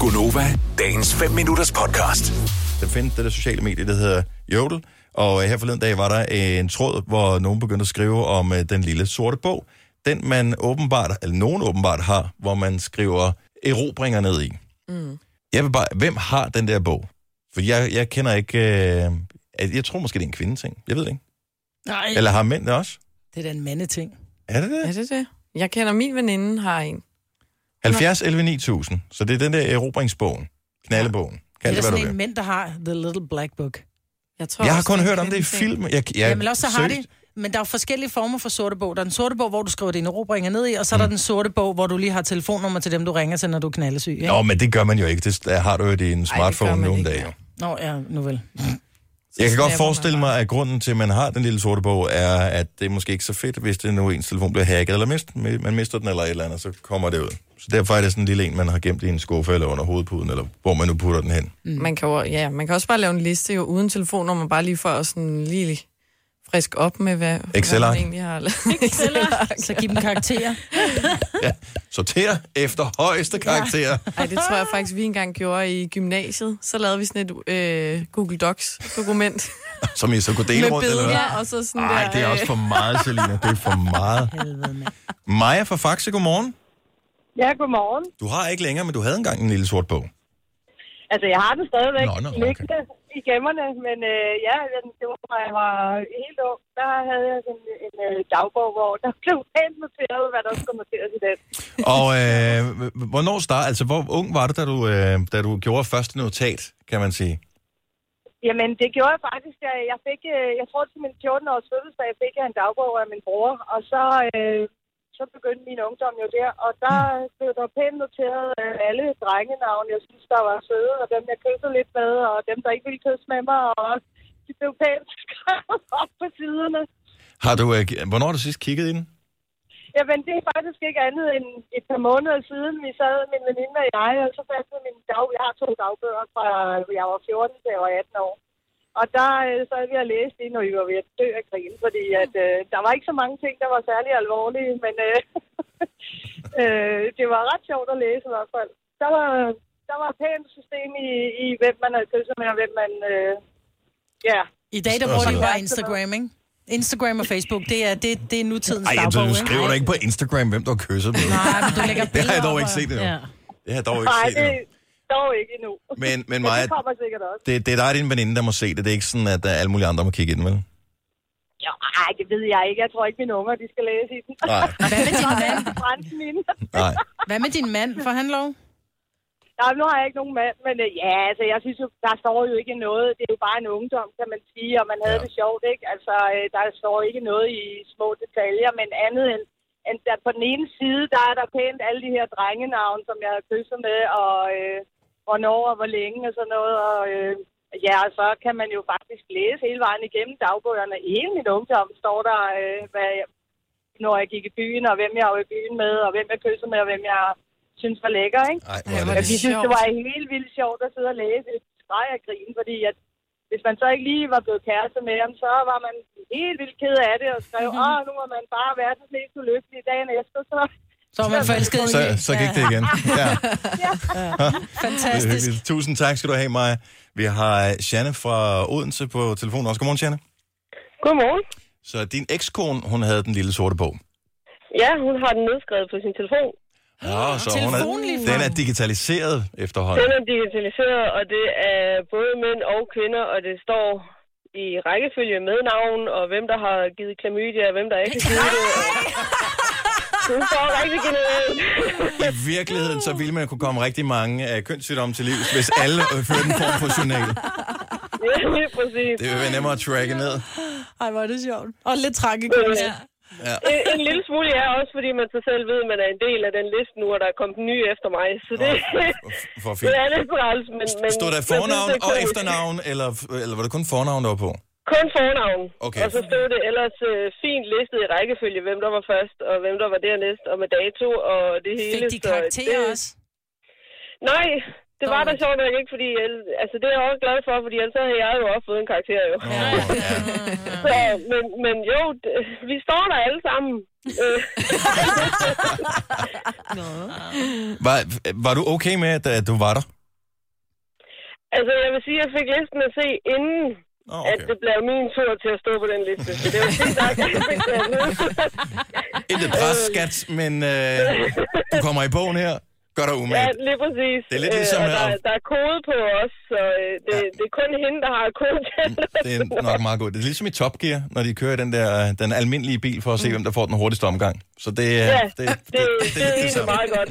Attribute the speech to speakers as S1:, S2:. S1: Gunova, dagens 5 minutters podcast.
S2: Der findes det der sociale medie, der hedder Jodel. Og øh, her forleden dag var der en tråd, hvor nogen begyndte at skrive om øh, den lille sorte bog. Den man åbenbart, eller nogen åbenbart har, hvor man skriver erobringer ned i.
S3: Mm.
S2: Jeg vil bare, hvem har den der bog? For jeg, jeg kender ikke... Øh, at- jeg tror måske, det er en kvindeting. Jeg ved det ikke.
S4: Nej,
S2: Eller har mænd det også?
S4: det er da en mandeting.
S2: Er det
S3: Er
S2: det?
S3: det det? Jeg kender min veninde har en.
S2: 70 11 9000. Så det er den der erobringsbogen. Knallebogen.
S4: Det er
S2: Kan det,
S4: da
S2: hvad du
S4: sådan en
S2: vil.
S4: mænd, der har The Little Black Book.
S3: Jeg, tror
S2: Jeg har
S3: også,
S2: kun
S3: er en
S2: hørt om det i
S3: kvindeting.
S2: film. Jeg, jeg,
S4: Ja, Jamen, også så har
S2: seriøst.
S4: de, men der er jo forskellige former for sorte bog. Der er den sorte bog, hvor du skriver dine erobringer ned i, og så
S2: Mm.
S4: er der den sorte bog, hvor du lige har telefonnummer til dem, du ringer til, når du er knaldesyg. Ikke?
S2: Nå, men det gør man jo ikke. Det der har du jo i din smartphone
S3: man
S2: nu om
S3: ikke.
S2: dagen. jo.
S4: Nå, ja, nu vel.
S2: Jeg kan godt
S3: snapper man
S2: forestille mig, at grunden til, at man har den lille sorte bog, er, at det er måske ikke så fedt, hvis det nu ens telefon bliver hacket, eller mist, man mister den eller et eller andet, så kommer det ud. Så derfor er det sådan en lille en, man har gemt i en skuffe, eller under hovedpuden, eller hvor man nu putter den hen.
S3: Mm. Man kan, jo, ja, man kan også bare lave en liste jo, uden telefonnummer, bare lige for at sådan lige frisk op med, hvad, hvad
S2: Excel-ark.
S3: man egentlig har lavet. Excel-ark.
S4: Så giv dem karakterer.
S2: Sorter efter højeste karakter. Ja.
S3: Ej, det tror jeg faktisk, vi engang gjorde i gymnasiet. Så lavede vi sådan et øh, Google Docs-dokument
S2: Som I så kunne dele
S3: med
S2: rundt, eller hvad?
S3: billeder, og så sådan
S2: Nej,
S3: der... øh,
S2: det er også for meget, Selina. Det er for meget.
S4: Helvede, mand.
S2: Maja fra Faxe, godmorgen.
S5: Ja, godmorgen.
S2: Du har ikke længere, men du havde engang en lille sort bog.
S5: Altså, jeg har den stadigvæk
S2: Nå, nå, okay.
S5: liggende i gemmerne, men øh, ja, den- det var, da jeg var helt ung, der havde jeg sådan en, en øh, dagbog, hvor der blev pænt noteret, hvad der skulle noteres i den.
S2: Og øh, h- hvornår start, altså hvor ung var du, da du, øh, da du gjorde første notat, kan man sige?
S5: Jamen, det gjorde jeg faktisk. Jeg, jeg fik, øh, jeg tror til min 14-års fødselsdag, fik jeg en dagbog af min bror, og så, øh, så begyndte min ungdom jo der, og der blev der pænt noteret øh, alle drengenavne, jeg synes, der var søde, og dem, jeg kyssede lidt med, og dem, der ikke ville kysse med mig, og de blev pænt skrevet op på siderne.
S2: Har du, øh, g- hvornår har du sidst kigget i den?
S5: Jamen, det er faktisk ikke andet end et par måneder siden, vi sad min veninde og jeg, og så fandt jeg min dag. Jeg har to dagbøger fra, jeg var 14 til jeg var 18 år. Og der øh, sad vi og læste lige, når vi var ved at dø af krigen, fordi at, øh, der var ikke så mange ting, der var særlig alvorlige, men øh, øh, det var ret sjovt at læse i hvert fald. Der var, der var et pænt system i, i, hvem man havde kysset med, og hvem man... Øh, ja,
S4: I dag, der
S2: Større
S4: bruger de
S2: side.
S4: bare Instagram, ikke? Instagram og Facebook, det er, det, det er nutidens
S2: Ej, altså,
S4: dagbog,
S2: du
S4: ikke?
S2: skriver da ikke på Instagram, hvem du har kysset med.
S4: Nej, men du lægger
S2: Det har jeg
S4: billeder
S2: dog
S4: op,
S2: ikke
S4: og-
S2: set endnu.
S4: Ja.
S2: Det har jeg dog ikke
S5: nej,
S2: set
S5: det
S2: endnu.
S5: dog ikke endnu.
S2: Men, men
S5: Maja,
S2: Maja,
S5: det kommer sikkert også.
S2: det, det er dig og din veninde, der må se det. Det er ikke sådan, at der er alle mulige andre, der må kigge i den, vel?
S5: Jo, ej, det ved jeg ikke. Jeg tror ikke, mine unger de skal læse i den.
S2: Nej,
S4: Hvad med din mand?
S5: brænde mine.
S2: nej.
S4: Hvad med din mand? Får han lov?
S5: Nej, nu har jeg ikke nogen mand, men øh, ja, altså, jeg synes jo, der står jo ikke noget. Det er jo bare en ungdom, kan man sige, og man havde
S2: Ja.
S5: ja. det sjovt, ikke? Altså, øh, der står ikke noget i små detaljer, men andet end, end der på den ene side, der er der pænt alle de her drengenavn, som jeg havde kysset med, og øh, hvornår og hvor længe og sådan noget, og... Øh, Ja, og så kan man jo faktisk læse hele vejen igennem dagbøgerne. I hele min ungdom står der, øh, hvad, jeg- når jeg gik i byen, og hvem jeg var i byen med, og hvem jeg kyssede med, og hvem jeg synes var lækker, ikke?
S2: Ej, hvor er det
S3: hvor er
S5: Jeg
S3: det
S5: synes,
S3: sjovt.
S5: det var helt vildt sjovt at sidde og læse et streg af grin, fordi at hvis man så ikke lige var blevet kæreste med ham, så var man helt vildt ked af det og skrev,
S6: Mhm.
S5: åh, nu var man bare verdens mest ulykkelige dagen efter, så
S4: Så er man forelsket i
S2: så,
S4: en-
S2: så gik det igen. Ja, det er
S4: Fantastisk.
S2: hyggeligt. Tusind tak skal du have, Maja. Vi har Janne fra Odense på telefonen også. Godmorgen, Janne.
S6: Godmorgen.
S2: Så din ekskone, hun havde den lille sorte bog.
S6: Ja, hun har den nedskrevet på sin telefon.
S2: Ja, så hun
S4: Telefonen
S2: er,
S4: ligefrem.
S2: den er digitaliseret efterhånden.
S6: Den er digitaliseret, og det er både mænd og kvinder, og det står i rækkefølge med navn, og hvem der har givet klamydia, og hvem der ikke har givet det. og- Så hun står rigtig genialt.
S2: I virkeligheden, så ville man kunne komme rigtig mange af kønssygdomme til livs, hvis alle øh, førte en form for journal.
S6: ja, lige præcis.
S2: Det vil være nemmere at tracke ned.
S4: Ej, hvor er det sjovt. Og lidt tragikomisk.
S6: Ja.
S2: Ja.
S6: En, en lille smule ja, også fordi man så selv ved, at man er en del af den liste nu, og der er kommet en ny efter mig. Så det,
S2: Åh, For fint.
S6: det er lidt træls, men... men
S2: Stod der
S6: jeg synes,
S2: fornavn
S6: det er
S2: og
S6: komisk.
S2: efternavn, eller, eller var det kun fornavn, der var på?
S6: Kun fornavn.
S2: Okay.
S6: Og så stod det ellers øh, fint listet i rækkefølge, hvem der var først, og hvem der var dernæst, og med dato og det hele.
S4: Fik de
S6: så
S4: karakterer
S6: det,
S4: også?
S6: Nej, det var
S4: Nå.
S6: da sjovt nok ikke, fordi el- altså, det er jeg også glad for, fordi ellers så havde jeg jo også fået en karakter. Jo.
S2: Nå, ja.
S6: Så, men, men jo, d- vi står der alle sammen. Øh,
S2: var, var du okay med, at, at du var der?
S6: Altså, jeg vil sige, at jeg fik listen at se, inden
S2: Nå,
S6: okay. at
S2: okay.
S6: det blev min tur til at stå på den liste. Så det var fint nok, at jeg fik det at vide.
S2: Ikke pres, skat, men øh, du kommer i bogen her. Gør dig
S6: Ja,
S2: umage.
S6: lige præcis. Øh,
S2: Det er lidt ligesom
S6: og der,
S2: her.
S6: der er kode på os, så øh, det, ja. det er kun hende, der har kode til
S2: Det er nok meget godt. Det er ligesom i Top Gear, når de kører i den der den almindelige bil for at se, hvem der får den hurtigste omgang. Så det, er-
S6: Mm. Ja,
S2: det, det,
S6: det,
S2: det,
S6: det er egentlig
S2: samme.
S6: meget godt.